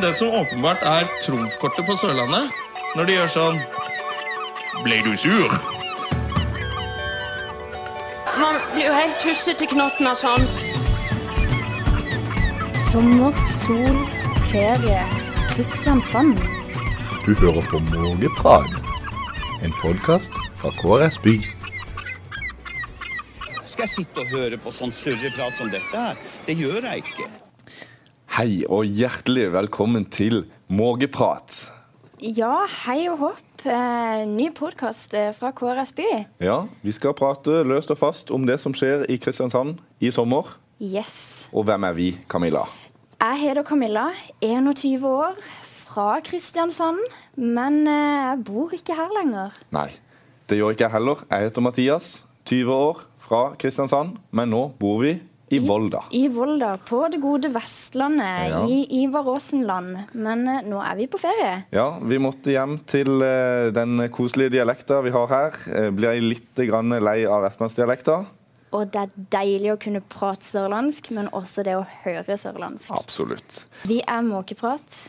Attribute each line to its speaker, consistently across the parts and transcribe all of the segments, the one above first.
Speaker 1: Det som åpenbart er trumfkortet på Sørlandet, når de gjør sånn Ble du sur?
Speaker 2: Man blir jo helt tusset i knotten av sånn.
Speaker 3: Sommer, sol, ferie. Kristiansand.
Speaker 4: Du hører på Mågeprat, en podkast fra KrS By.
Speaker 5: Skal jeg sitte og høre på sånn surreprat som dette her? Det gjør jeg ikke.
Speaker 4: Hei og hjertelig velkommen til Mågeprat.
Speaker 3: Ja, hei og hopp. Eh, ny podkast fra KrS By.
Speaker 4: Ja, vi skal prate løst og fast om det som skjer i Kristiansand i sommer.
Speaker 3: Yes.
Speaker 4: Og hvem er vi, Camilla?
Speaker 3: Jeg heter Camilla, 21 år, fra Kristiansand. Men eh, jeg bor ikke her lenger.
Speaker 4: Nei, det gjør ikke jeg heller. Jeg heter Mathias, 20 år, fra Kristiansand. Men nå bor vi i Volda.
Speaker 3: I Volda, på det gode Vestlandet,
Speaker 4: Ja.
Speaker 3: i Ivar Aasen-land. Men eh, nå er vi på ferie.
Speaker 4: Ja, vi måtte hjem til eh, den koselige dialekta vi har her. Eh, Blir jeg litt grann lei av vestlandsdialekta?
Speaker 3: Og det er deilig å kunne prate sørlandsk, men også det å høre sørlandsk.
Speaker 4: Absolutt.
Speaker 3: Vi er Måkeprat,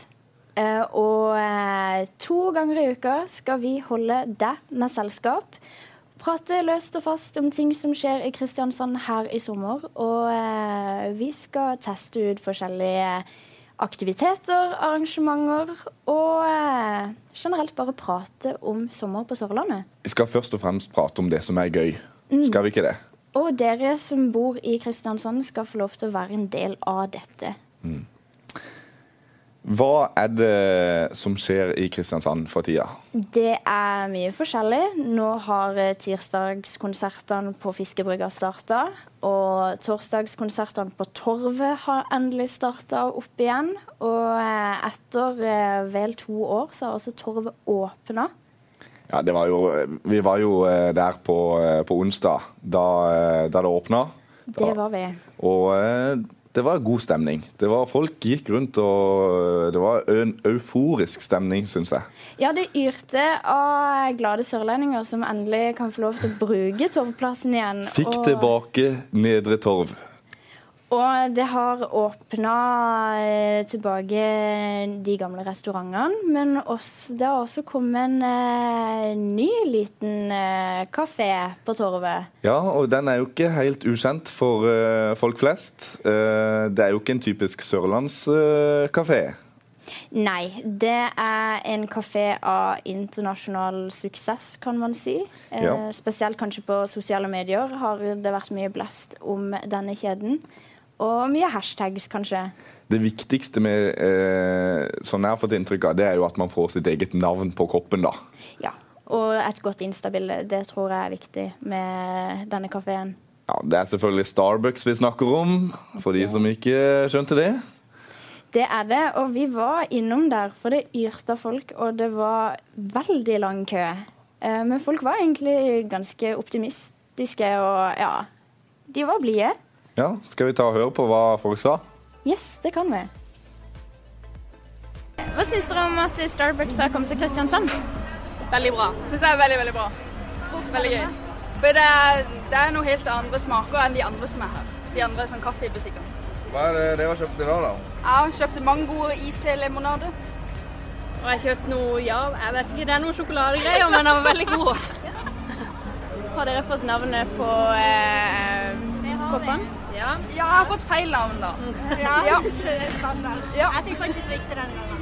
Speaker 3: eh, og eh, to ganger i uka skal vi holde deg med selskap. Prate løst og fast om ting som skjer i Kristiansand her i sommer. Og eh, vi skal teste ut forskjellige aktiviteter, arrangementer og eh, generelt bare prate om sommer på Sørlandet.
Speaker 4: Vi skal først og fremst prate om det som er gøy. Skal vi ikke det?
Speaker 3: Og dere som bor i Kristiansand skal få lov til å være en del av dette.
Speaker 4: Hva er det som skjer i Kristiansand for tida?
Speaker 3: Det er mye forskjellig. Nå har eh, tirsdagskonsertene på Fiskebrygga starta. Og torsdagskonsertene på Torvet har endelig starta opp igjen. Og eh, etter eh, vel to år så har også Torvet åpna.
Speaker 4: Ja, det var jo, vi var jo eh, der på, eh, på onsdag, da, eh, da det åpna.
Speaker 3: Det var vi.
Speaker 4: Og eh, det var god stemning. Det var, folk gikk rundt og eh, Det var en euforisk stemning, syns jeg.
Speaker 3: Ja, det yrte av glade sørlendinger som endelig kan få lov til å bruke Torvplassen igjen.
Speaker 4: Fikk
Speaker 3: og-
Speaker 4: tilbake Nedre Torv.
Speaker 3: Og det har åpna eh, tilbake de gamle restaurantene, men også, det har også kommet en eh, ny liten eh, kafé på Torvet.
Speaker 4: Ja, og den er jo ikke helt ukjent for eh, folk flest. Eh, det er jo ikke en typisk sørlandskafé.
Speaker 3: Nei, det er en kafé av internasjonal suksess, kan man si. Eh,
Speaker 4: Ja.
Speaker 3: Spesielt kanskje på sosiale medier har det vært mye blest om denne kjeden. Og mye hashtags, kanskje.
Speaker 4: Det viktigste med eh, sånn jeg har fått inntrykk av, det er jo at man får sitt eget navn på koppen, da.
Speaker 3: Ja. Og et godt Insta-bilde. Det tror jeg er viktig med denne kafeen.
Speaker 4: Ja, det er selvfølgelig Starbucks vi snakker om, for de som ikke skjønte det.
Speaker 3: Det er det, og vi var innom der, for det yrte av folk, og det var veldig lang kø. Eh, Men folk var egentlig ganske optimistiske, og ja De var blide.
Speaker 4: Ja, skal vi ta og høre på hva folk sa?
Speaker 3: Yes, det kan vi. Hva syns dere om at Starbucks har kommet til Kristiansand?
Speaker 6: Veldig bra. Synes jeg er veldig, veldig bra. Veldig gøy. For det er, det er noe helt andre smaker enn de andre som er her. De andre sånn kaffebutikkene.
Speaker 4: Hva er det dere har kjøpt i dag, da?
Speaker 6: Jeg har kjøpt mango og iste-limonade. Og jeg har kjøpt noe, ja, jeg vet ikke, det er noen sjokoladegreier, men den var veldig god.
Speaker 3: Har dere fått navnet på koppene?
Speaker 6: eh, Ja, Mm. jeg har fått feil navn da.
Speaker 7: Ja, standard. Jeg fikk faktisk riktig denne gangen.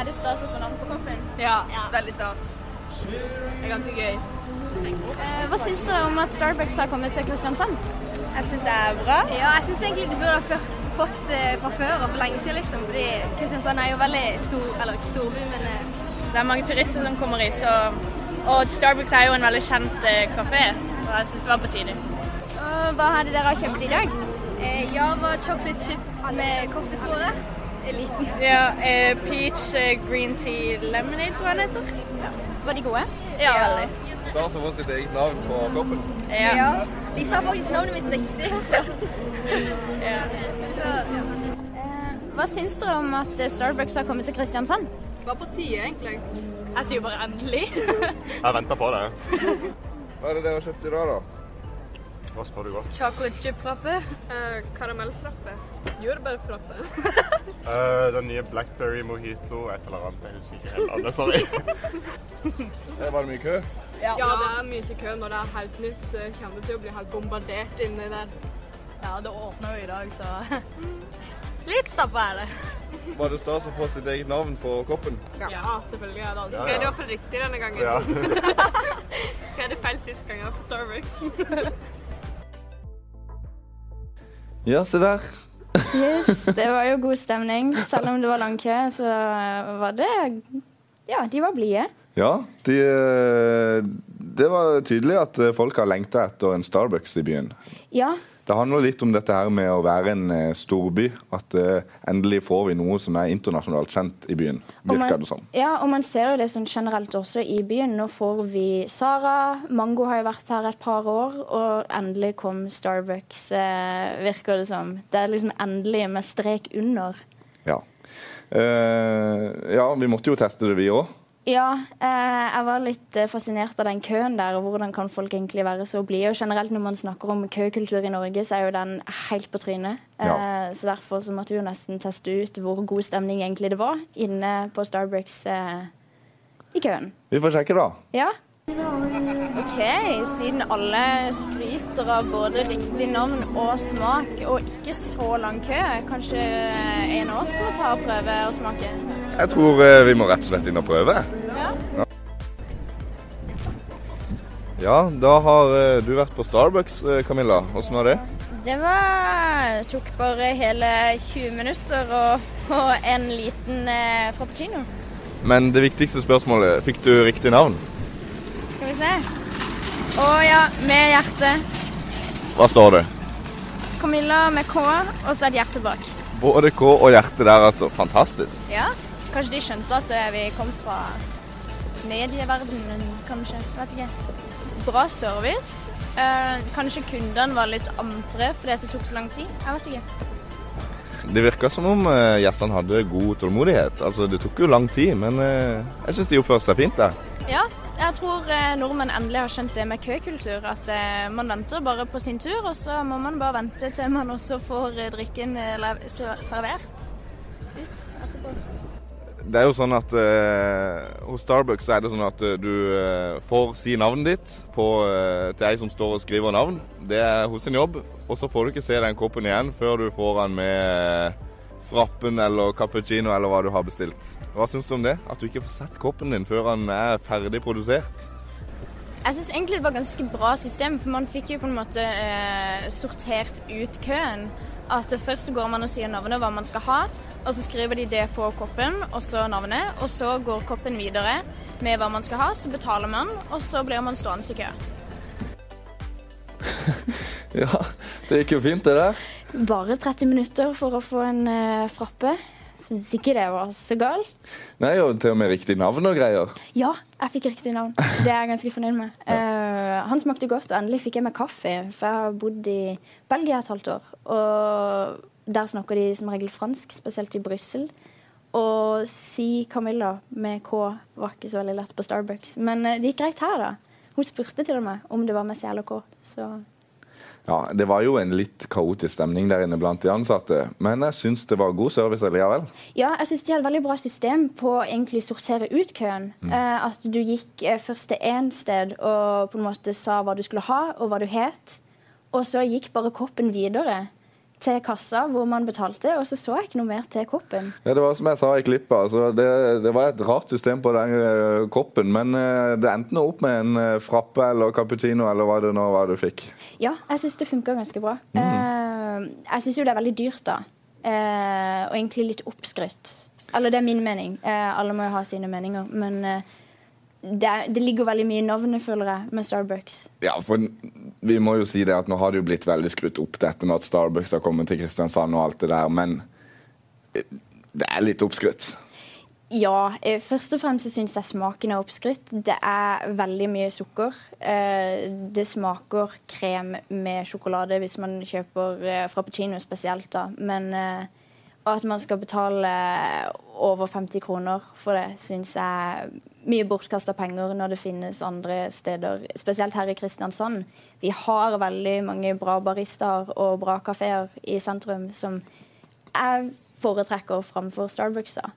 Speaker 3: Er det stas å få navn på koppen?
Speaker 6: Ja, veldig stas. Det er ganske gøy.
Speaker 3: Hva syns dere om at Starbucks har kommet til Kristiansand?
Speaker 6: Jeg syns det er bra. Ja, jeg syns egentlig du burde ha ført, fått eh, fra før og for lenge siden, liksom. Fordi Kristiansand er jo veldig stor, eller ikke storby, men eh, Det er mange turister som kommer hit, så Og Starbucks er jo en veldig kjent eh, kafé, så jeg syns det var på tide.
Speaker 3: Hva hadde dere kjøpt i dag?
Speaker 6: Eh, ja, var chocolate chip med kaffe, tror jeg. Liten. Ja, eh, peach green tea lemonade, tror jeg den heter.
Speaker 3: Var de gode?
Speaker 6: Ja, veldig.
Speaker 4: Stas å få sitt eget navn på koppen.
Speaker 6: Ja. De sa faktisk navnet mitt riktig, altså.
Speaker 3: Hva syns dere om at eh, Starbucks har kommet til Kristiansand?
Speaker 6: Hva på tide, egentlig? Jeg sier jo bare endelig.
Speaker 8: Jeg venter på det.
Speaker 4: Hva er det dere har kjøpt i dag, da?
Speaker 1: Hva spør du godt?
Speaker 6: Chocolate chip-frappe. Eh, Karamellfrappe. Jordbærfrappe.
Speaker 1: Eh, den nye Blackberry Mojito, et eller annet. Jeg husker ikke helt annet, sorry. Eh, Var det mye kø?
Speaker 6: Ja, det er mye kø. Når det er helt nytt, så kan det til å bli helt bombardert inni der. Mm. Ja, det åpner jo i dag, så Litt stappa er det.
Speaker 4: Var det stas å få sitt eget navn på koppen?
Speaker 6: Ja, selvfølgelig er det alltid.
Speaker 1: Ja, ja.
Speaker 6: for riktig denne gangen?
Speaker 1: Ja.
Speaker 6: Skal jeg det feil sist gang jeg var på Starbucks?
Speaker 4: Ja, se der.
Speaker 3: Yes, det var jo god stemning. Selv om det var lang kø, så var det Ja, de var blide.
Speaker 4: Ja, de, eh, det var tydelig at eh, folk har lengta etter en Starbucks i byen.
Speaker 3: Ja,
Speaker 4: Det handler litt om dette her med å være en eh, storby. At eh, endelig får vi noe som er internasjonalt kjent i byen,
Speaker 3: og man,
Speaker 4: virker det som.
Speaker 3: ja, og man ser jo det sånn generelt også i byen. Nå får vi Sara, Mango har jo vært her et par år, og endelig kom Starbucks, eh, virker det som. Det er liksom endelig med strek under.
Speaker 4: Ja. Eh, ja, vi måtte jo teste det, vi òg.
Speaker 3: Ja, eh, jeg var litt eh, fascinert av den køen der. og Hvordan kan folk egentlig være så blide? Og generelt når man snakker om køkultur i Norge, så er jo den helt på trynet.
Speaker 4: Ja.
Speaker 3: Eh, så derfor så måtte vi jo nesten teste ut hvor god stemning egentlig det var inne på Starbucks eh, i køen.
Speaker 4: Vi får sjekke, da.
Speaker 3: Ja.
Speaker 9: Ok, siden alle skryter av både riktig navn og smak, og ikke så lang kø, kanskje en av oss må ta og prøve å smake?
Speaker 4: Jeg tror eh, vi må rett og slett inn og prøve.
Speaker 9: Ja.
Speaker 4: Ja. Ja, da har eh, du vært på Starbucks, eh, Camilla. Åssen var det?
Speaker 9: Det var, tok bare hele 20 minutter å få en liten eh, frappuccino.
Speaker 4: Men det viktigste spørsmålet, fikk du riktig navn?
Speaker 9: Skal vi se. Å ja, med hjerte.
Speaker 4: Hva står det?
Speaker 9: Camilla med K, og så et hjerte bak.
Speaker 4: Både K og hjerte der, altså. Fantastisk.
Speaker 9: Ja, kanskje de skjønte at eh, vi kom fra medieverdenen, kanskje. Jeg Vet ikke. Bra service. Eh, kanskje kundene var litt ampre fordi at det tok så lang tid. Jeg vet ikke.
Speaker 4: Det virka som om eh, gjestene hadde god tålmodighet. Altså, det tok jo lang tid, men eh, jeg syns de oppførte seg fint der.
Speaker 9: Ja, jeg tror eh, nordmenn endelig har skjønt det med køkultur. At eh, man venter bare på sin tur, og så må man bare vente til man også får eh, drikken eh, lev- ser- servert ut etterpå.
Speaker 4: Det er jo sånn at eh, hos Starbucks så er det sånn at eh, du eh, får si navnet ditt på, eh, til ei som står og skriver navn. Det er hos sin jobb. Og så får du ikke se den koppen igjen før du får den med eh, frappen eller cappuccino eller hva du har bestilt. Hva syns du om det? At du ikke får sett koppen din før den er ferdig produsert?
Speaker 9: Jeg syns egentlig det var ganske bra system, for man fikk jo på en måte eh, sortert ut køen. At det først så går man og sier navnet, hva man skal ha, og så skriver de det på koppen, og så navnet, og så går koppen videre med hva man skal ha, så betaler man, og så blir man stående i kø.
Speaker 4: Ja, det gikk jo fint, det der.
Speaker 3: Bare 30 minutter for å få en eh, frappe. Syns ikke det var så galt.
Speaker 4: Nei, og til og med riktig navn og greier.
Speaker 3: Ja, jeg fikk riktig navn. Det er jeg ganske fornøyd med. Eh, han smakte godt, og endelig fikk jeg meg kaffe. For jeg har bodd i Belgia et halvt år, og der snakker de som regel fransk, spesielt i Brussel. Å si Camilla med K var ikke så veldig lett på Starbucks, men eh, det gikk greit her, da. Hun spurte til og med om det var med C eller K, så
Speaker 4: Ja, Det var jo en litt kaotisk stemning der inne blant de ansatte, men jeg syns det var god service allikevel.
Speaker 3: Ja, jeg synes de hadde veldig bra system på å egentlig sortere ut køen. Eh, at du gikk eh, først til én sted og på en måte sa hva du skulle ha, og hva du het. Og så gikk bare koppen videre til kassa hvor man betalte, og så så jeg ikke noe mer til koppen.
Speaker 4: Ja, Det var som jeg sa i klippet. Altså, det, det var et rart system på den eh, koppen. Men eh, det endte nå opp med en eh, frappe eller cappuccino eller hva det nå var du fikk.
Speaker 3: Ja, jeg syns det funka ganske bra. Eh, jeg syns jo det er veldig dyrt, da. Eh, og egentlig litt oppskrytt. Eller det er min mening. Eh, alle må jo ha sine meninger. Men eh, det, er- det ligger veldig mye i navnet, føler jeg, med Starbucks.
Speaker 4: Ja, for vi må jo si det at nå har det jo blitt veldig skrutt opp dette med at Starbucks har kommet til Kristiansand og alt det der, men eh, det er litt oppskrytt.
Speaker 3: Ja. eh, Først og fremst så syns jeg smaken er oppskrytt. Det er veldig mye sukker. Eh, Det smaker krem med sjokolade hvis man kjøper eh, frappuccino spesielt, da. Men eh, at man skal betale over 50 kroner for det, syns jeg mye bortkasta penger når det finnes andre steder, spesielt her i Kristiansand. Vi har veldig mange bra baristaer og bra kafeer i sentrum som jeg foretrekker framfor Starbucks. da.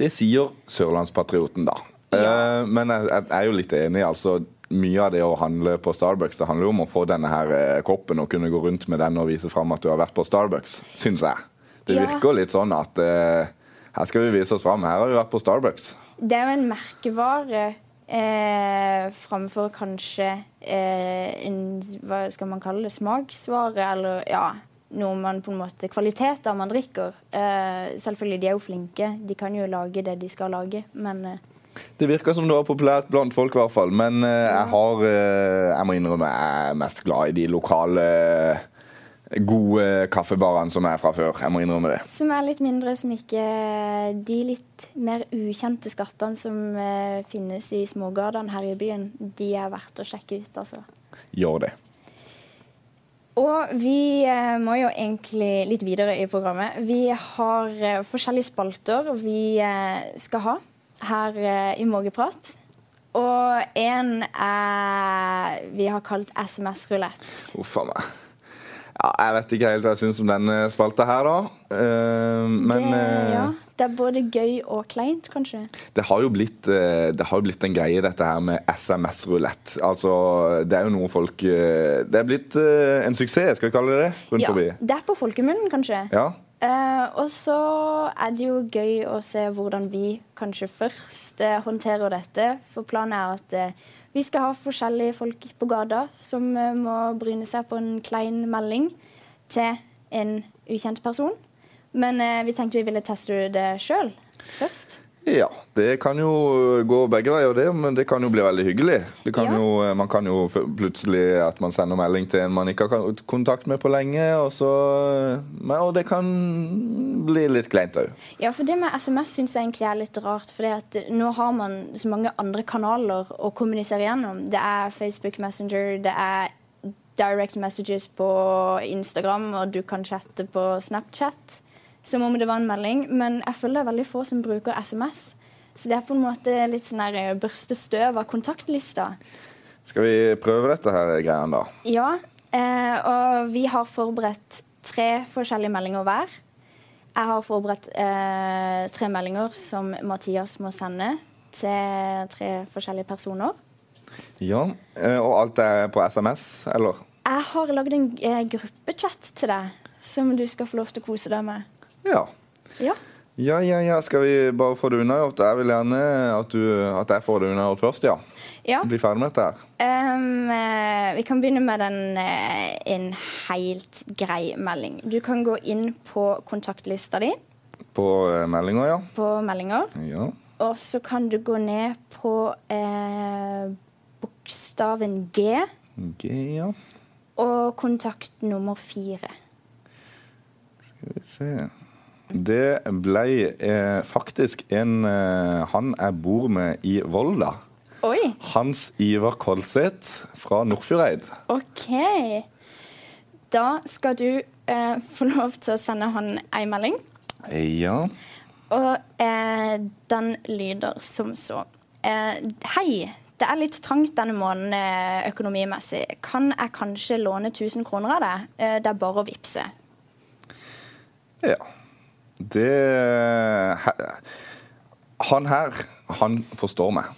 Speaker 4: Det sier Sørlandspatrioten, da. Eh, men jeg, jeg er jo litt enig. altså Mye av det å handle på Starbucks det handler jo om å få denne her eh, koppen og kunne gå rundt med den og vise fram at du har vært på Starbucks, syns jeg. Det
Speaker 3: Ja.
Speaker 4: virker litt sånn at eh, her skal vi vise oss fram. Her har vi vært på Starbucks.
Speaker 3: Det er jo en merkevare eh, framfor kanskje eh, en hva skal man kalle det, smaksvare, eller ja, noe man på en måte Kvaliteter man drikker. Eh, selvfølgelig, de er jo flinke. De kan jo lage det de skal lage, men eh,
Speaker 4: Det virker som det var populært blant folk, i hvert fall. Men eh, jeg har eh, Jeg må innrømme jeg er mest glad i de lokale eh, gode kaffebarene som er fra før. Jeg må innrømme det.
Speaker 3: som er litt mindre, som ikke De litt mer ukjente skattene som eh, finnes i smågatene her i byen, de er verdt å sjekke ut, altså.
Speaker 4: Gjør det.
Speaker 3: Og vi eh, må jo egentlig litt videre i programmet. Vi har eh, forskjellige spalter vi eh, skal ha her eh, i Mågeprat. Og en er vi har kalt SMS-rulett.
Speaker 4: Uff a meg. Ja, jeg vet ikke helt hva jeg syns om denne spalta her, da. Eh, men
Speaker 3: det,
Speaker 4: eh,
Speaker 3: ja, det er både gøy og kleint, kanskje.
Speaker 4: det har jo blitt, eh, det har jo blitt en greie, dette her med SMS-rulett. Altså, det er jo noe folk eh, Det er blitt eh, en suksess, skal vi kalle det det? Rundt
Speaker 3: ja,
Speaker 4: forbi.
Speaker 3: det er på folkemunnen, kanskje.
Speaker 4: Ja.
Speaker 3: Eh, og så er det jo gøy å se hvordan vi kanskje først eh, håndterer dette. For planen er at eh, vi skal ha forskjellige folk på gata som eh, må bryne seg på en klein melding til en ukjent person. Men eh, vi tenkte vi ville teste det sjøl først.
Speaker 4: Ja, det kan jo gå begge veier, det, men det kan jo bli veldig hyggelig. Det kan
Speaker 3: Ja.
Speaker 4: jo, eh, man kan jo f- plutselig at man sender melding til en man ikke har kon- kontakt med på lenge, og, så, eh, men, og det kan bli litt kleint òg.
Speaker 3: Ja, for det med SMS syns jeg egentlig er litt rart. For at nå har man så mange andre kanaler å kommunisere gjennom. Det er Facebook Messenger, det er direct messages på Instagram, og du kan chatte på Snapchat. Som om det var en melding. Men jeg føler det er veldig få som bruker SMS. Så det er på en måte litt sånn der eh, børste støv av kontaktlista.
Speaker 4: Skal vi prøve dette her greien, da?
Speaker 3: Ja, eh, og vi har forberedt tre forskjellige meldinger hver. Jeg har forberedt eh, tre meldinger som Mathias må sende til tre forskjellige personer.
Speaker 4: Ja. eh, Og alt er på SMS, eller?
Speaker 3: Jeg har lagd en eh, gruppechat til deg som du skal få lov til å kose deg med.
Speaker 4: Ja.
Speaker 3: Ja.
Speaker 4: Ja, ja, ja. Skal vi bare få det unnagjort? Jeg vil gjerne at, du, at jeg får det unnagjort først, ja.
Speaker 3: ja.
Speaker 4: Bli ferdig med dette her.
Speaker 3: Ehm, eh, vi kan begynne med den, eh, en helt grei melding. Du kan gå inn på kontaktlista di
Speaker 4: På eh, meldinger, ja.
Speaker 3: på meldinger.
Speaker 4: ja.
Speaker 3: Og så kan du gå ned på eh, bokstaven G
Speaker 4: G, ja.
Speaker 3: og kontakt nummer fire.
Speaker 4: Skal vi se Det ble eh, faktisk en eh, han jeg bor med i Volda.
Speaker 3: Oi!
Speaker 4: Hans Ivar Kolseth fra Nordfjordeid.
Speaker 3: OK. Da skal du eh, få lov til å sende han ei melding.
Speaker 4: Ja.
Speaker 3: Og eh, den lyder som så. Eh, hei, det er litt trangt denne måneden eh, økonomimessig. Kan jeg kanskje låne 1000 kroner av deg? Eh, det er bare å vippse.
Speaker 4: ja. Det he- Han her, han forstår meg.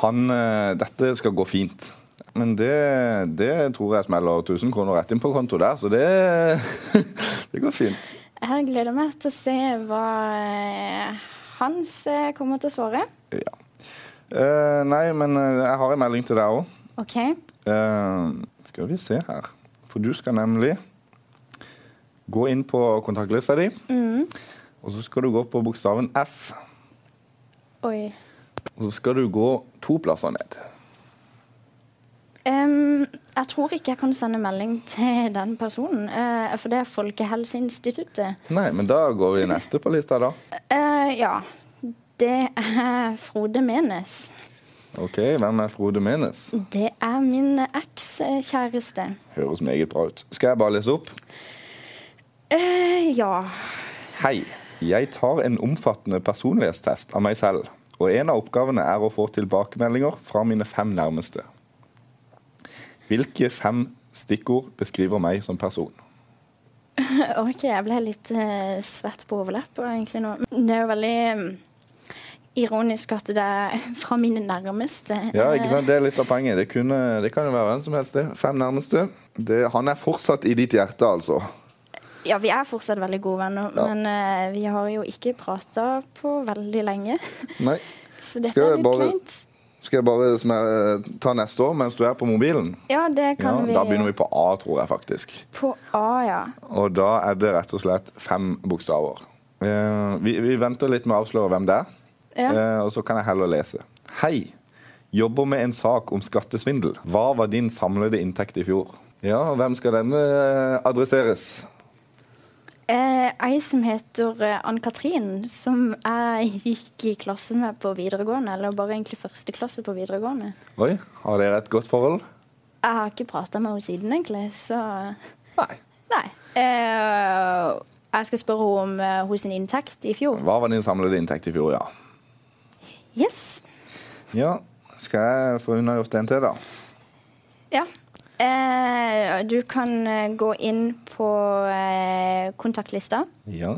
Speaker 4: Han eh, Dette skal gå fint. Men det, det tror jeg smeller 1000 kroner rett inn på konto der, så det, det går fint.
Speaker 3: Jeg gleder meg til å se hva eh, Hans eh, kommer til å svare.
Speaker 4: Ja. Eh, nei, men eh, jeg har en melding til deg òg.
Speaker 3: OK.
Speaker 4: skal vi se her. For du skal nemlig gå inn på kontaktlista di,
Speaker 3: Mm.
Speaker 4: og så skal du gå på bokstaven F.
Speaker 3: Oi.
Speaker 4: Og så skal du gå to plasser ned.
Speaker 3: Em, jeg tror ikke jeg kan sende melding til den personen, eh, for det er Folkehelseinstituttet.
Speaker 4: Nei, men da går vi neste på lista, da.
Speaker 3: Eh, ja. Det er Frode Menes.
Speaker 4: OK, hvem er Frode Menes?
Speaker 3: Det er min ekskjæreste.
Speaker 4: Høres meget bra ut. Skal jeg bare lese opp?
Speaker 3: Eh, ja. Eh,
Speaker 4: Hei. Jeg tar en omfattende personlighetstest av meg selv, Og en av oppgavene er å få tilbakemeldinger fra mine fem nærmeste. Hvilke fem stikkord beskriver meg som person?
Speaker 3: OK, jeg ble litt eh, svett på overleppa egentlig nå. Det er jo veldig mm, ironisk at det er fra mine nærmeste.
Speaker 4: Ja, ikke sant? Det er litt av poenget. Det, kunne, det kan jo være hvem som helst. det. Fem nærmeste. Det, han er fortsatt i ditt hjerte, altså.
Speaker 3: Ja, vi er fortsatt veldig gode venner, men eh, vi har jo ikke prata på veldig lenge.
Speaker 4: Nei.
Speaker 3: Så dette
Speaker 4: Skal
Speaker 3: er
Speaker 4: jeg
Speaker 3: litt
Speaker 4: bare-
Speaker 3: kleint.
Speaker 4: Skal jeg bare smer- ta neste år mens du er på mobilen?
Speaker 3: Ja, det kan
Speaker 4: Ja,
Speaker 3: vi.
Speaker 4: Da begynner vi på A, tror jeg faktisk.
Speaker 3: På A, ja.
Speaker 4: Og da er det rett og slett fem bokstaver. Eh, vi, vi venter litt med å avsløre hvem det er,
Speaker 3: Ja.
Speaker 4: eh, og så kan jeg heller lese. Hei. Jobber med en sak om skattesvindel. Hva var din samlede inntekt i fjor? Ja, og hvem skal denne eh, adresseres?
Speaker 3: Eh, ei som heter eh, Ann-Katrin, som jeg gikk i klasse med på videregående. Eller bare egentlig første klasse på videregående.
Speaker 4: Oi, har dere et godt forhold?
Speaker 3: Jeg har ikke prata med henne siden, egentlig, så
Speaker 4: Nei.
Speaker 3: Nei. Eh, jeg skal spørre henne om eh, hennes inntekt i fjor.
Speaker 4: Hva var din samlede inntekt i fjor, ja?
Speaker 3: Yes.
Speaker 4: Ja, skal jeg få unnagjort en til, da?
Speaker 3: Ja. Eh, du kan eh, gå inn på eh, kontaktlista,
Speaker 4: Ja.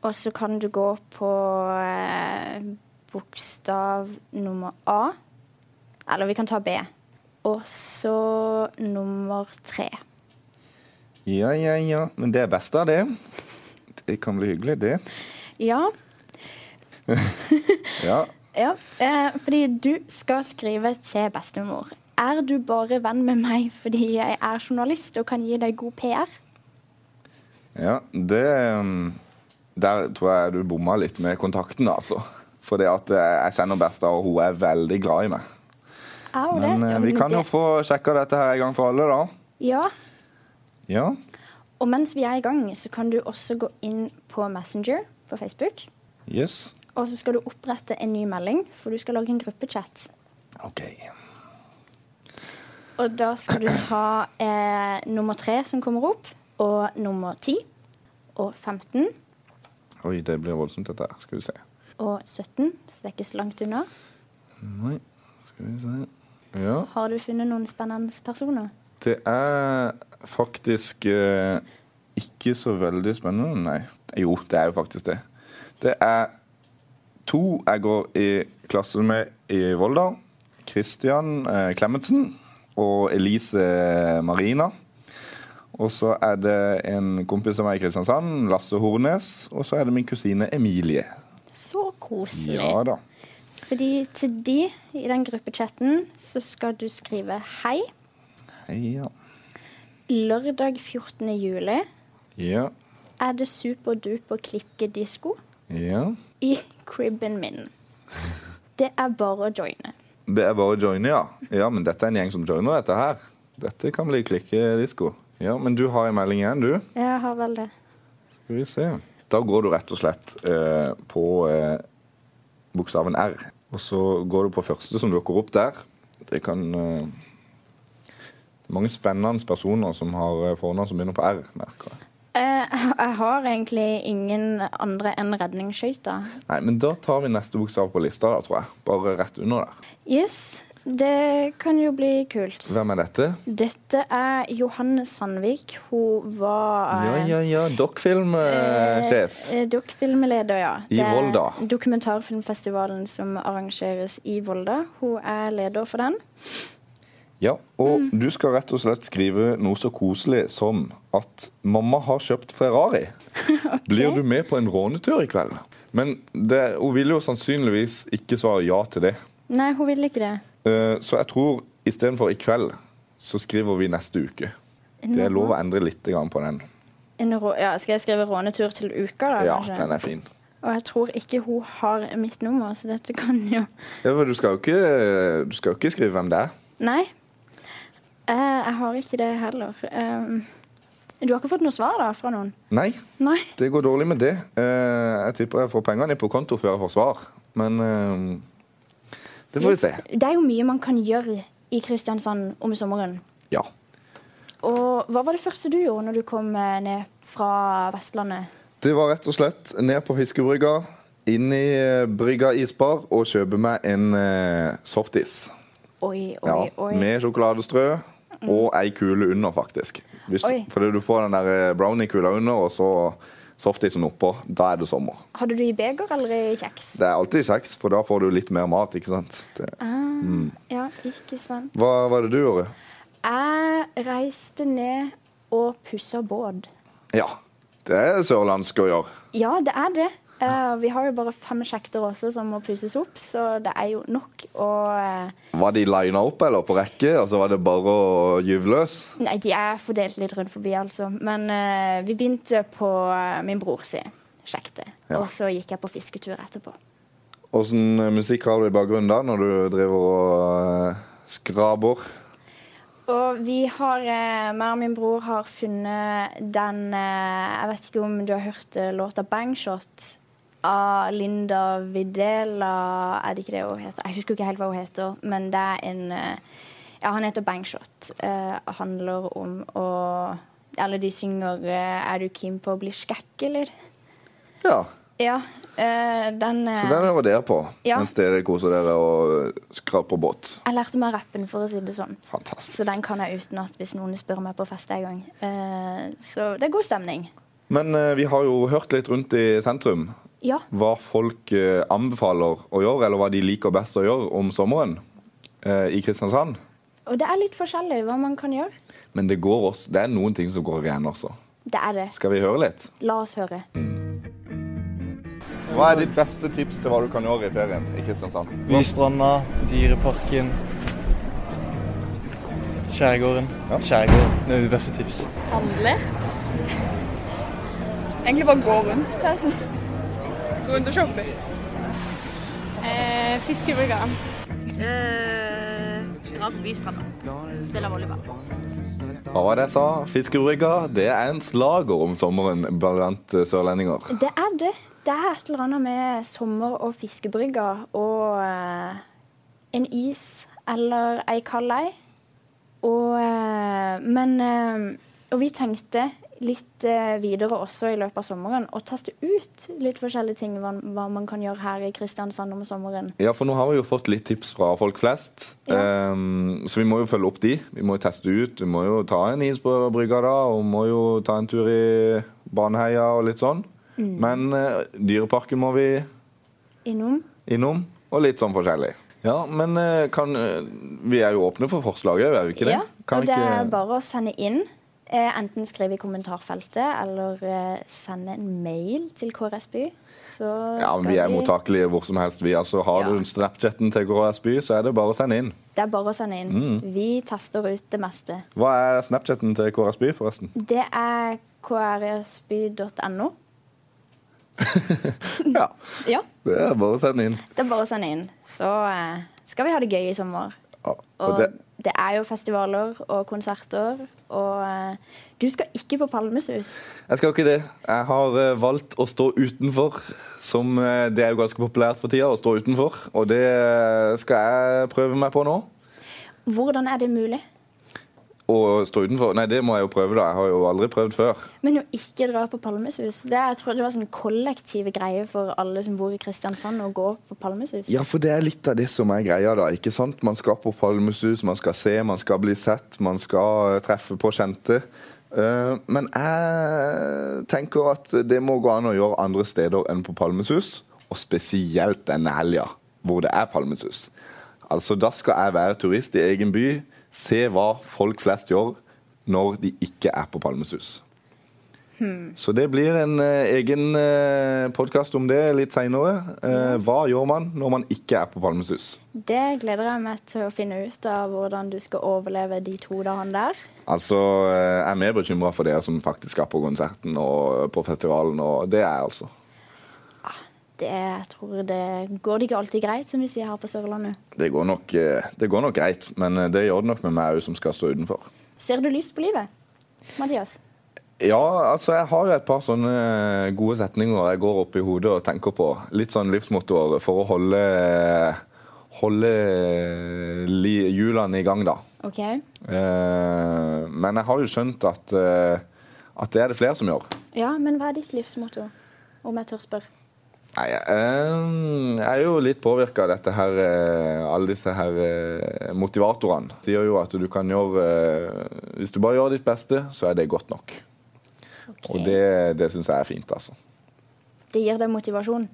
Speaker 3: og så kan du gå på eh, bokstav nummer A. Eller vi kan ta B. Og så nummer tre.
Speaker 4: Ja, ja, ja. Men det er best av det. Det kan bli hyggelig, det.
Speaker 3: Ja.
Speaker 4: Ja.
Speaker 3: ja. Eh, fordi du skal skrive til bestemor. Er du bare venn med meg fordi jeg er journalist og kan gi deg god PR?
Speaker 4: Ja, det um, Der tror jeg du bomma litt med kontakten, altså. Fordi at eh, jeg kjenner Bertha, og hun er veldig glad i meg.
Speaker 3: Er hun
Speaker 4: Men
Speaker 3: det?
Speaker 4: eh,
Speaker 3: Ja,
Speaker 4: vi kan jo
Speaker 3: det-
Speaker 4: få sjekka dette her en gang for alle, da.
Speaker 3: Ja.
Speaker 4: Ja.
Speaker 3: Og mens vi er i gang, så kan du også gå inn på Messenger på Facebook.
Speaker 4: Yes.
Speaker 3: Og så skal du opprette en ny melding, for du skal lage en gruppechat.
Speaker 4: OK.
Speaker 3: Og da skal du ta eh, nummer tre som kommer opp, og nummer ti, og 15,
Speaker 4: Oi, det blir voldsomt, dette her. Skal vi se.
Speaker 3: og 17, så det er ikke så langt unna.
Speaker 4: Nei, skal vi se Ja.
Speaker 3: Har du funnet noen spennende personer?
Speaker 4: Det er faktisk eh, ikke så veldig spennende, nei. Jo, det er jo faktisk det. Det er to jeg går i klasse med i Volda. Christian eh, Clemetsen og Elise eh, Marina. Og så er det en kompis av meg i Kristiansand, Lasse Hornes. Og så er det min kusine Emilie.
Speaker 3: Så koselig.
Speaker 4: Ja da.
Speaker 3: Fordi til de i den gruppechatten så skal du skrive hei.
Speaker 4: Ja.
Speaker 3: Lørdag 14. juli
Speaker 4: Ja.
Speaker 3: er det superduper klikkedisko
Speaker 4: ja.
Speaker 3: i cribben min. Det er bare å joine.
Speaker 4: Det er bare å joine, ja. Ja, men dette er en gjeng som joiner dette her. Dette kan bli klikkedisko. Ja, men du har en melding igjen, du.
Speaker 3: Jeg har vel det.
Speaker 4: Skal vi se. Da går du rett og slett eh, på eh, bokstaven R. Og så går du på første som dukker opp der. Det kan eh, Mange spennende personer som har eh, fornavn som begynner på R. merker jeg.
Speaker 3: Eh, jeg har egentlig ingen andre enn redningsskøyta.
Speaker 4: Nei, men da tar vi neste bokstav på lista, da, tror jeg. Bare rett under der.
Speaker 3: Yes, det kan jo bli kult.
Speaker 4: Hvem er dette?
Speaker 3: Dette er Johanne Sandvik. Hun var
Speaker 4: Ja,
Speaker 3: eh,
Speaker 4: ja, ja. Dokkfilmsjef.
Speaker 3: eh, Dokkfilmleder, ja.
Speaker 4: I
Speaker 3: Det er
Speaker 4: Volda.
Speaker 3: Dokumentarfilmfestivalen som arrangeres i Volda. Hun er leder for den.
Speaker 4: Ja, og du skal rett og slett skrive noe så koselig som at 'mamma har kjøpt Ferrari'. Blir du med på en rånetur i kveld? Men det, hun vil jo sannsynligvis ikke svare ja til det.
Speaker 3: Nei, hun vil ikke det.
Speaker 4: Eh, Så jeg tror istedenfor i kveld, så skriver vi neste uke. Det er lov å endre litt grann på den.
Speaker 3: En rå ja, skal jeg skrive rånetur til uka, da?
Speaker 4: Ja,
Speaker 3: kanskje?
Speaker 4: den er fin.
Speaker 3: Og jeg tror ikke hun har mitt nummer, så dette kan jo
Speaker 4: Ja, for du skal jo ikke, du skal jo ikke skrive hvem det er.
Speaker 3: Nei. Eh, jeg har ikke det heller. Um, du har ikke fått noe svar da, fra noen?
Speaker 4: Nei,
Speaker 3: Nei.
Speaker 4: det går dårlig med det. Eh, Jeg tipper jeg får pengene på konto før jeg får svar. Men eh, det får vi se.
Speaker 3: Det er jo mye man kan gjøre i Kristiansand om sommeren.
Speaker 4: Ja.
Speaker 3: Og hva var det første du gjorde når du kom eh, ned fra Vestlandet?
Speaker 4: Det var rett og slett ned på fiskebrygga, inn i eh, Brygga isbar og kjøpe meg en eh, softis.
Speaker 3: Oi, oi,
Speaker 4: Ja,
Speaker 3: oi.
Speaker 4: med sjokoladestrø og ei kule under, faktisk. Hvis du,
Speaker 3: Oi.
Speaker 4: fordi du får den der eh, brownie-kula under, og så softisen oppå. Da er det sommer.
Speaker 3: Hadde du i beger eller i kjeks?
Speaker 4: Det er alltid kjeks, for da får du litt mer mat, ikke sant? Det.
Speaker 3: Ah,
Speaker 4: Mm.
Speaker 3: Ja, ikke sant.
Speaker 4: Hva var det du gjorde?
Speaker 3: Jeg reiste ned og pussa båt.
Speaker 4: Ja, det er sørlandsk å gjøre.
Speaker 3: Ja, det er det. Eh, vi har jo bare fem sjekter også som må pusses opp, så det er jo nok å eh,
Speaker 4: Var de lina opp eller på rekke, og så var det bare å gyve løs?
Speaker 3: Nei, de er fordelt litt rundt forbi, altså. Men eh, vi begynte på eh, min bror si sjekte.
Speaker 4: Ja.
Speaker 3: Og så gikk jeg på fisketur etterpå.
Speaker 4: Åssen musikk har du i bakgrunnen da, når du driver og eh, skraber?
Speaker 3: Og vi har, eh, meg og min bror har funnet den eh, Jeg vet ikke om du har hørt eh, låta 'Bangshot' av Linda Videla Er det ikke det hun heter? Jeg husker ikke helt hva hun heter, men det er en eh, Ja, han heter Bangshot. Eh, handler om å Eller de synger eh, 'Er du keen på å bli skækk', eller?
Speaker 4: Ja,
Speaker 3: Ja. eh, den eh,
Speaker 4: så den var dere på,
Speaker 3: Ja.
Speaker 4: mens dere koser dere og skraper båt.
Speaker 3: Jeg lærte meg rappen, for å si det sånn.
Speaker 4: Fantastisk.
Speaker 3: Så den kan jeg utenat hvis noen spør meg på fest en gang. Eh, så det er god stemning.
Speaker 4: Men eh, vi har jo hørt litt rundt i sentrum
Speaker 3: Ja.
Speaker 4: hva folk eh, anbefaler å gjøre, eller hva de liker best å gjøre om sommeren eh, i Kristiansand.
Speaker 3: Og det er litt forskjellig hva man kan gjøre.
Speaker 4: Men det, går også, det er noen ting som går igjen også.
Speaker 3: Det er det.
Speaker 4: Skal vi høre litt?
Speaker 3: La oss høre.
Speaker 4: Hva er ditt beste tips til hva du kan gjøre i ferien i Kristiansand?
Speaker 10: Bystranda, Dyreparken, Skjærgården. Skjærgården. Det er det beste tips.
Speaker 11: Handle. Egentlig bare gå rundt her. Gå rundt og shoppe. Eh, Fiskebrygga.
Speaker 12: Dra på bystranda. Spille volleyball.
Speaker 4: Hva var det jeg sa? Fiskebrygga, det er en slager om sommeren blant eh, sørlendinger.
Speaker 3: Det er det. Det er et eller annet med sommer- og fiskebrygger og eh, en is eller ei kald ei. Og, eh, men eh, Og vi tenkte litt eh, videre også i løpet av sommeren å teste ut litt forskjellige ting hva, hva man kan gjøre her i Kristiansand om sommeren.
Speaker 4: Ja, for nå har vi jo fått litt tips fra folk flest, Ehm, så vi må jo følge opp de. Vi må jo teste ut, vi må jo ta en is på brygga da, og må jo ta en tur i Baneheia og litt sånn.
Speaker 3: Mm.
Speaker 4: Men eh, dyreparken må vi
Speaker 3: Innom.
Speaker 4: innom, og litt sånn forskjellig. Ja, men eh, kan, eh, vi er jo åpne for forslaget, er vi ikke det?
Speaker 3: Ja, og
Speaker 4: Kan vi
Speaker 3: det
Speaker 4: ikke-
Speaker 3: er bare å sende inn. Eh, enten skrive i kommentarfeltet eller eh, sende en mail til KRSby. Så
Speaker 4: Ja, men
Speaker 3: skal
Speaker 4: vi er mottakelige hvor som helst. Vi, altså, har
Speaker 3: Ja.
Speaker 4: du Snapchatten til KRS By, så er det bare å sende inn.
Speaker 3: Det er bare å sende inn.
Speaker 4: Mm.
Speaker 3: Vi tester ut det meste.
Speaker 4: Hva er Snapchatten til KRS By, forresten?
Speaker 3: Det er krsby.no.
Speaker 4: ja.
Speaker 3: ja.
Speaker 4: Det er bare å sende inn.
Speaker 3: Det er bare å sende inn. Så eh, skal vi ha det gøy i sommer.
Speaker 4: Og
Speaker 3: Og
Speaker 4: det,
Speaker 3: det er jo festivaler og konserter, og eh, du skal ikke på Palmesus.
Speaker 4: jeg skal ikke det. Jeg har eh, valgt å stå utenfor, som eh, det er jo ganske populært for tida, å stå utenfor. Og det eh, skal jeg prøve meg på nå.
Speaker 3: Hvordan er det mulig?
Speaker 4: Å stå utenfor? Nei, det må jeg jo prøve, da. Jeg har jo aldri prøvd før.
Speaker 3: Men å ikke dra på Palmesus det, Jeg tror det var sånn kollektive greier for alle som bor i Kristiansand, å gå på Palmesus.
Speaker 4: Ja, for det er litt av det som er greia, da. ikke sant? Man skal på Palmesus, man skal se, man skal bli sett, man skal eh, treffe på kjente. Eh, Men jeg tenker at det må gå an å gjøre andre steder enn på Palmesus, og spesielt denne helga, hvor det er Palmesus. Altså, da skal jeg være turist i egen by, se hva folk flest gjør når de ikke er på Palmesus.
Speaker 3: Hmm.
Speaker 4: Så det blir en eh, egen uh, podkast om det litt seinere. hva gjør man når man ikke er på Palmesus?
Speaker 3: Det gleder jeg meg til å finne ut av hvordan du skal overleve de to dagene der.
Speaker 4: Altså, eh, jeg er mer bekymra for dere som faktisk er på konserten og eh, på festivalen, og det er jeg altså.
Speaker 3: Det, jeg tror det går det ikke alltid greit, som vi sier her på Sørlandet.
Speaker 4: Det går nok, eh, det går nok greit, men eh, det gjør det nok med meg òg, som skal stå utenfor.
Speaker 3: Ser du lyst på livet, Mathias?
Speaker 4: Ja, altså jeg har jo et par sånne eh, gode setninger jeg går opp i hodet og tenker på. Litt sånn livsmotor for å holde, holde li, hjulene i gang, da.
Speaker 3: OK.
Speaker 4: Eh, men jeg har jo skjønt at, eh, at det er det flere som gjør.
Speaker 3: Ja, men hva er ditt livsmotto, om jeg tør spørre?
Speaker 4: Nei, eh, jeg er jo litt påvirka av dette her eh, Alle disse her eh, motivatorene. Sier jo at du kan gjøre eh, Hvis du bare gjør ditt beste, så er det godt nok. Og det, det syns jeg er fint, altså.
Speaker 3: Det gir deg motivasjon.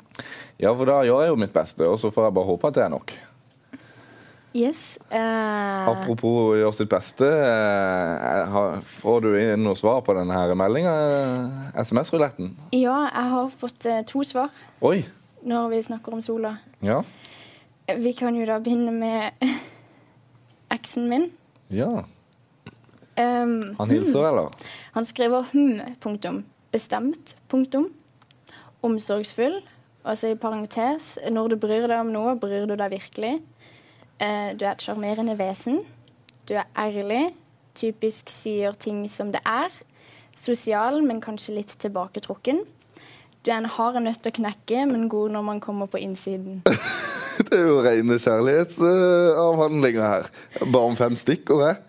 Speaker 4: Ja, for da gjør jeg jo mitt beste, og så får jeg bare håpe at det er nok.
Speaker 3: Yes. eh,
Speaker 4: Apropos å gjøre sitt beste. eh, jeg har- Får du inn noe svar på denne eh, meldinga? SMS-ruletten?
Speaker 3: ja, jeg har fått eh, to svar
Speaker 4: Oi!
Speaker 3: når vi snakker om sola.
Speaker 4: Ja.
Speaker 3: Vi kan jo da begynne med eksen min.
Speaker 4: ja.
Speaker 3: Um,
Speaker 4: Han hilser, eller?
Speaker 3: Han skriver hm, punktum, bestemt, punktum, omsorgsfull, altså i parentes, når du bryr deg om noe, bryr du deg virkelig. Eh, du er et sjarmerende vesen. Du er ærlig, typisk sier ting som det er. Sosial, men kanskje litt tilbaketrukken. Du er en hard nøtt å knekke, men god når man kommer på innsiden.
Speaker 4: Det er jo rene kjærlighetsavhandlinga her. Bare om fem stikkord, jeg.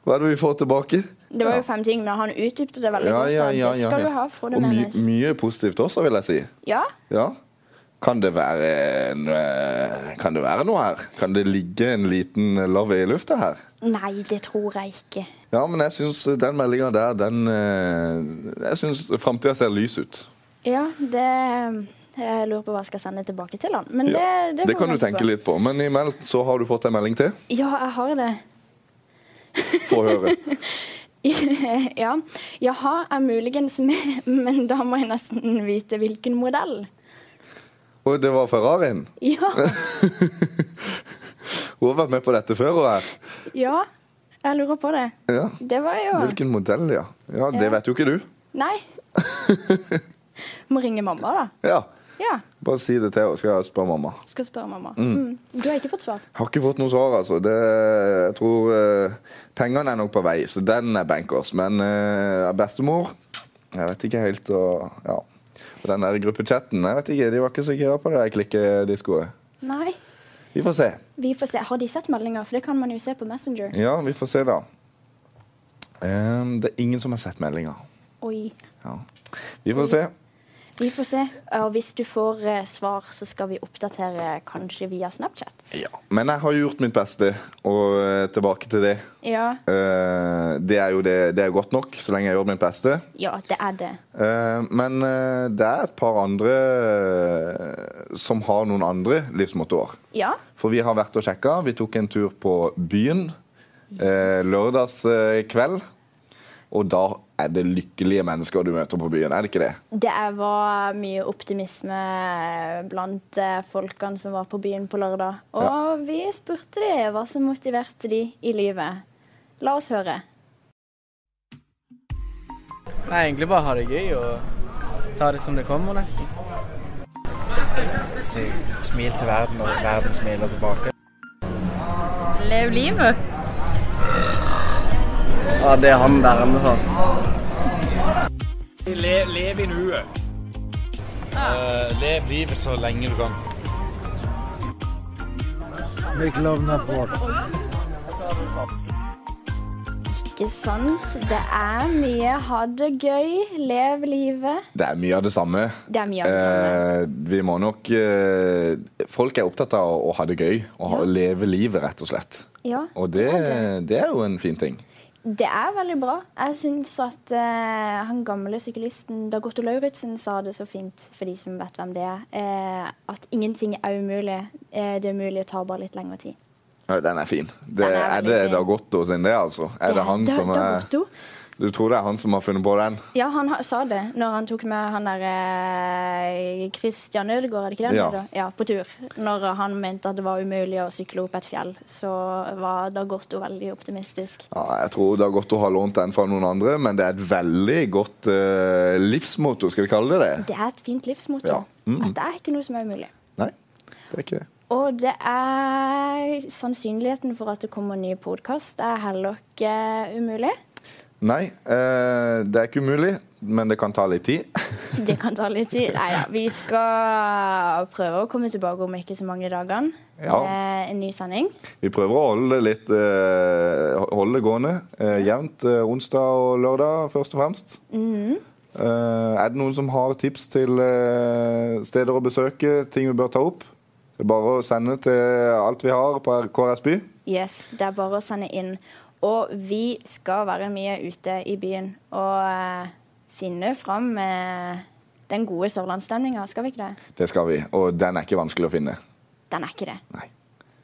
Speaker 4: Hva er det vi får tilbake?
Speaker 3: Det var jo fem ting, men han utdypte det veldig
Speaker 4: Ja,
Speaker 3: godt.
Speaker 4: ja,
Speaker 3: da.
Speaker 4: ja,
Speaker 3: det
Speaker 4: ja,
Speaker 3: skal
Speaker 4: ja.
Speaker 3: du ha, Frode
Speaker 4: Og my
Speaker 3: Menes.
Speaker 4: mye positivt også, vil jeg si.
Speaker 3: Ja,
Speaker 4: Ja. Kan det være en, eh, Kan det være noe her? Kan det ligge en liten love i lufta her?
Speaker 3: Nei, det tror jeg ikke.
Speaker 4: Ja, men jeg syns den meldinga der, den eh, Jeg syns framtida ser lys ut.
Speaker 3: Ja, det Jeg lurer på hva jeg skal sende tilbake til han. Men det,
Speaker 4: Ja,
Speaker 3: det, får
Speaker 4: det kan
Speaker 3: vi
Speaker 4: du
Speaker 3: vente
Speaker 4: tenke
Speaker 3: på.
Speaker 4: litt på. Men imellom så har du fått en melding til.
Speaker 3: Ja, jeg har det.
Speaker 4: Få høre.
Speaker 3: ja. Jaha, er muligens med, men da må jeg nesten vite hvilken modell.
Speaker 4: Og det var Ferrarien.
Speaker 3: Ja.
Speaker 4: Hun har vært med på dette før. Hun her.
Speaker 3: ja. Jeg lurer på det.
Speaker 4: Ja.
Speaker 3: Det var jo
Speaker 4: Hvilken modell, ja. ja. Det
Speaker 3: Ja.
Speaker 4: vet jo ikke du.
Speaker 3: Nei. Må ringe mamma, da.
Speaker 4: Ja,
Speaker 3: Ja.
Speaker 4: Bare si det til henne, skal jeg spørre mamma.
Speaker 3: Skal spørre mamma.
Speaker 4: Mm.
Speaker 3: Mm. Du har ikke fått svar?
Speaker 4: Har ikke fått noe svar, altså. Det, jeg tror eh, Pengene er nok på vei, så den er bankers. Men eh, bestemor Jeg vet ikke helt og, ja. Og den der gruppechatten, jeg vet ikke, de var ikke så gira på det der klikkediskoet.
Speaker 3: Nei.
Speaker 4: Vi får se.
Speaker 3: Vi får se. Har de sett meldinger? For det kan man jo se på Messenger.
Speaker 4: Ja, vi får se, da. Ehm, det er ingen som har sett meldinga.
Speaker 3: Oi.
Speaker 4: Ja. Vi får se.
Speaker 3: Vi får se. Og hvis du får eh, svar, så skal vi oppdatere kanskje via Snapchat.
Speaker 4: Men jeg har gjort mitt beste, og eh, tilbake til det.
Speaker 3: Ja.
Speaker 4: Eh, det er jo det, det er godt nok, så lenge jeg gjør mitt beste.
Speaker 3: Ja, det er det.
Speaker 4: Eh, men eh, det er et par andre eh, som har noen andre livsmottoer.
Speaker 3: Ja.
Speaker 4: For vi har vært og sjekka. Vi tok en tur på byen eh, lørdags eh, kveld. Og da er det lykkelige mennesker du møter på byen, er det ikke det?
Speaker 3: Det er- var mye optimisme blant eh, folkene som var på byen på lørdag. Og
Speaker 4: Ja.
Speaker 3: vi spurte de hva som motiverte de i livet. La oss høre.
Speaker 13: Nei, egentlig bare ha det gøy og ta det som det kommer, nesten.
Speaker 10: Si smil til verden, og verden smiler tilbake.
Speaker 12: Lev livet.
Speaker 10: Ja, det er han der inne, sånn.
Speaker 14: Le, lev i nuet. Eh, lev livet så lenge du kan.
Speaker 15: Make love not war.
Speaker 3: Ikke sant? Det er mye ha det gøy, lev livet.
Speaker 4: Det er mye av det samme.
Speaker 3: Det er mye av det samme.
Speaker 4: Eh, vi må nok eh, Folk er opptatt av å, å ha det gøy og ha, leve livet, rett og slett.
Speaker 3: Ja.
Speaker 4: Og det, det er jo en fin ting.
Speaker 3: Det er veldig bra. Jeg syns at eh, han gamle syklisten Dag Otto Lauritzen sa det så fint, for de som vet hvem det er, eh, at ingenting er umulig. Eh, det umulige tar bare litt lengre tid.
Speaker 4: Ja, den er fin. Det,
Speaker 3: Den er
Speaker 4: er,
Speaker 3: veldig
Speaker 4: det
Speaker 3: fin.
Speaker 4: Dag Otto sin, det, altså? Er det han
Speaker 3: Da-
Speaker 4: som
Speaker 3: Dag
Speaker 4: er
Speaker 3: Otto?
Speaker 4: Du tror det er han som har funnet på den?
Speaker 3: Ja, han ha, sa det når han tok med han der eh, Christian Ødegaard, er det ikke det? han
Speaker 4: Ja.
Speaker 3: heter? ja, på tur. Når han mente at det var umulig å sykle opp et fjell, så var Dag Otto veldig optimistisk.
Speaker 4: Ja, jeg tror Dag Otto har lånt den fra noen andre, men det er et veldig godt eh, livsmotto, skal vi kalle det det?
Speaker 3: Det er et fint livsmotto.
Speaker 4: Ja. Mm.
Speaker 3: At det er ikke noe som er umulig.
Speaker 4: Nei, det er ikke det.
Speaker 3: Og det er sannsynligheten for at det kommer nye podkast er heller ikke umulig.
Speaker 4: Nei, eh, det er ikke umulig, men det kan ta litt tid.
Speaker 3: Det kan ta litt tid. Nei da. Vi skal prøve å komme tilbake om ikke så mange dagene.
Speaker 4: Ja.
Speaker 3: Eh, en ny sending.
Speaker 4: Vi prøver å holde det litt eh, holde det gående eh, jevnt eh, onsdag og lørdag, først og fremst.
Speaker 3: Mhm.
Speaker 4: Eh, er det noen som har tips til eh, steder å besøke, ting vi bør ta opp? Det er bare å sende til alt vi har på KRS By.
Speaker 3: Yes, det er bare å sende inn. Og vi skal være mye ute i byen og eh, finne fram eh, den gode sørlandsstemninga, skal vi ikke det?
Speaker 4: Det skal vi, og den er ikke vanskelig å finne.
Speaker 3: Den er ikke det.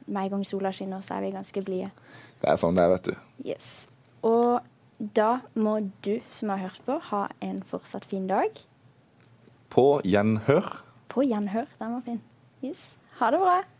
Speaker 3: Med en gang sola skinner, så er vi ganske blide.
Speaker 4: Det er sånn det er, vet du.
Speaker 3: Yes. Og da må du som har hørt på, ha en fortsatt fin dag.
Speaker 4: På gjenhør.
Speaker 3: På gjenhør. Den var fin. Yes. Ha det bra.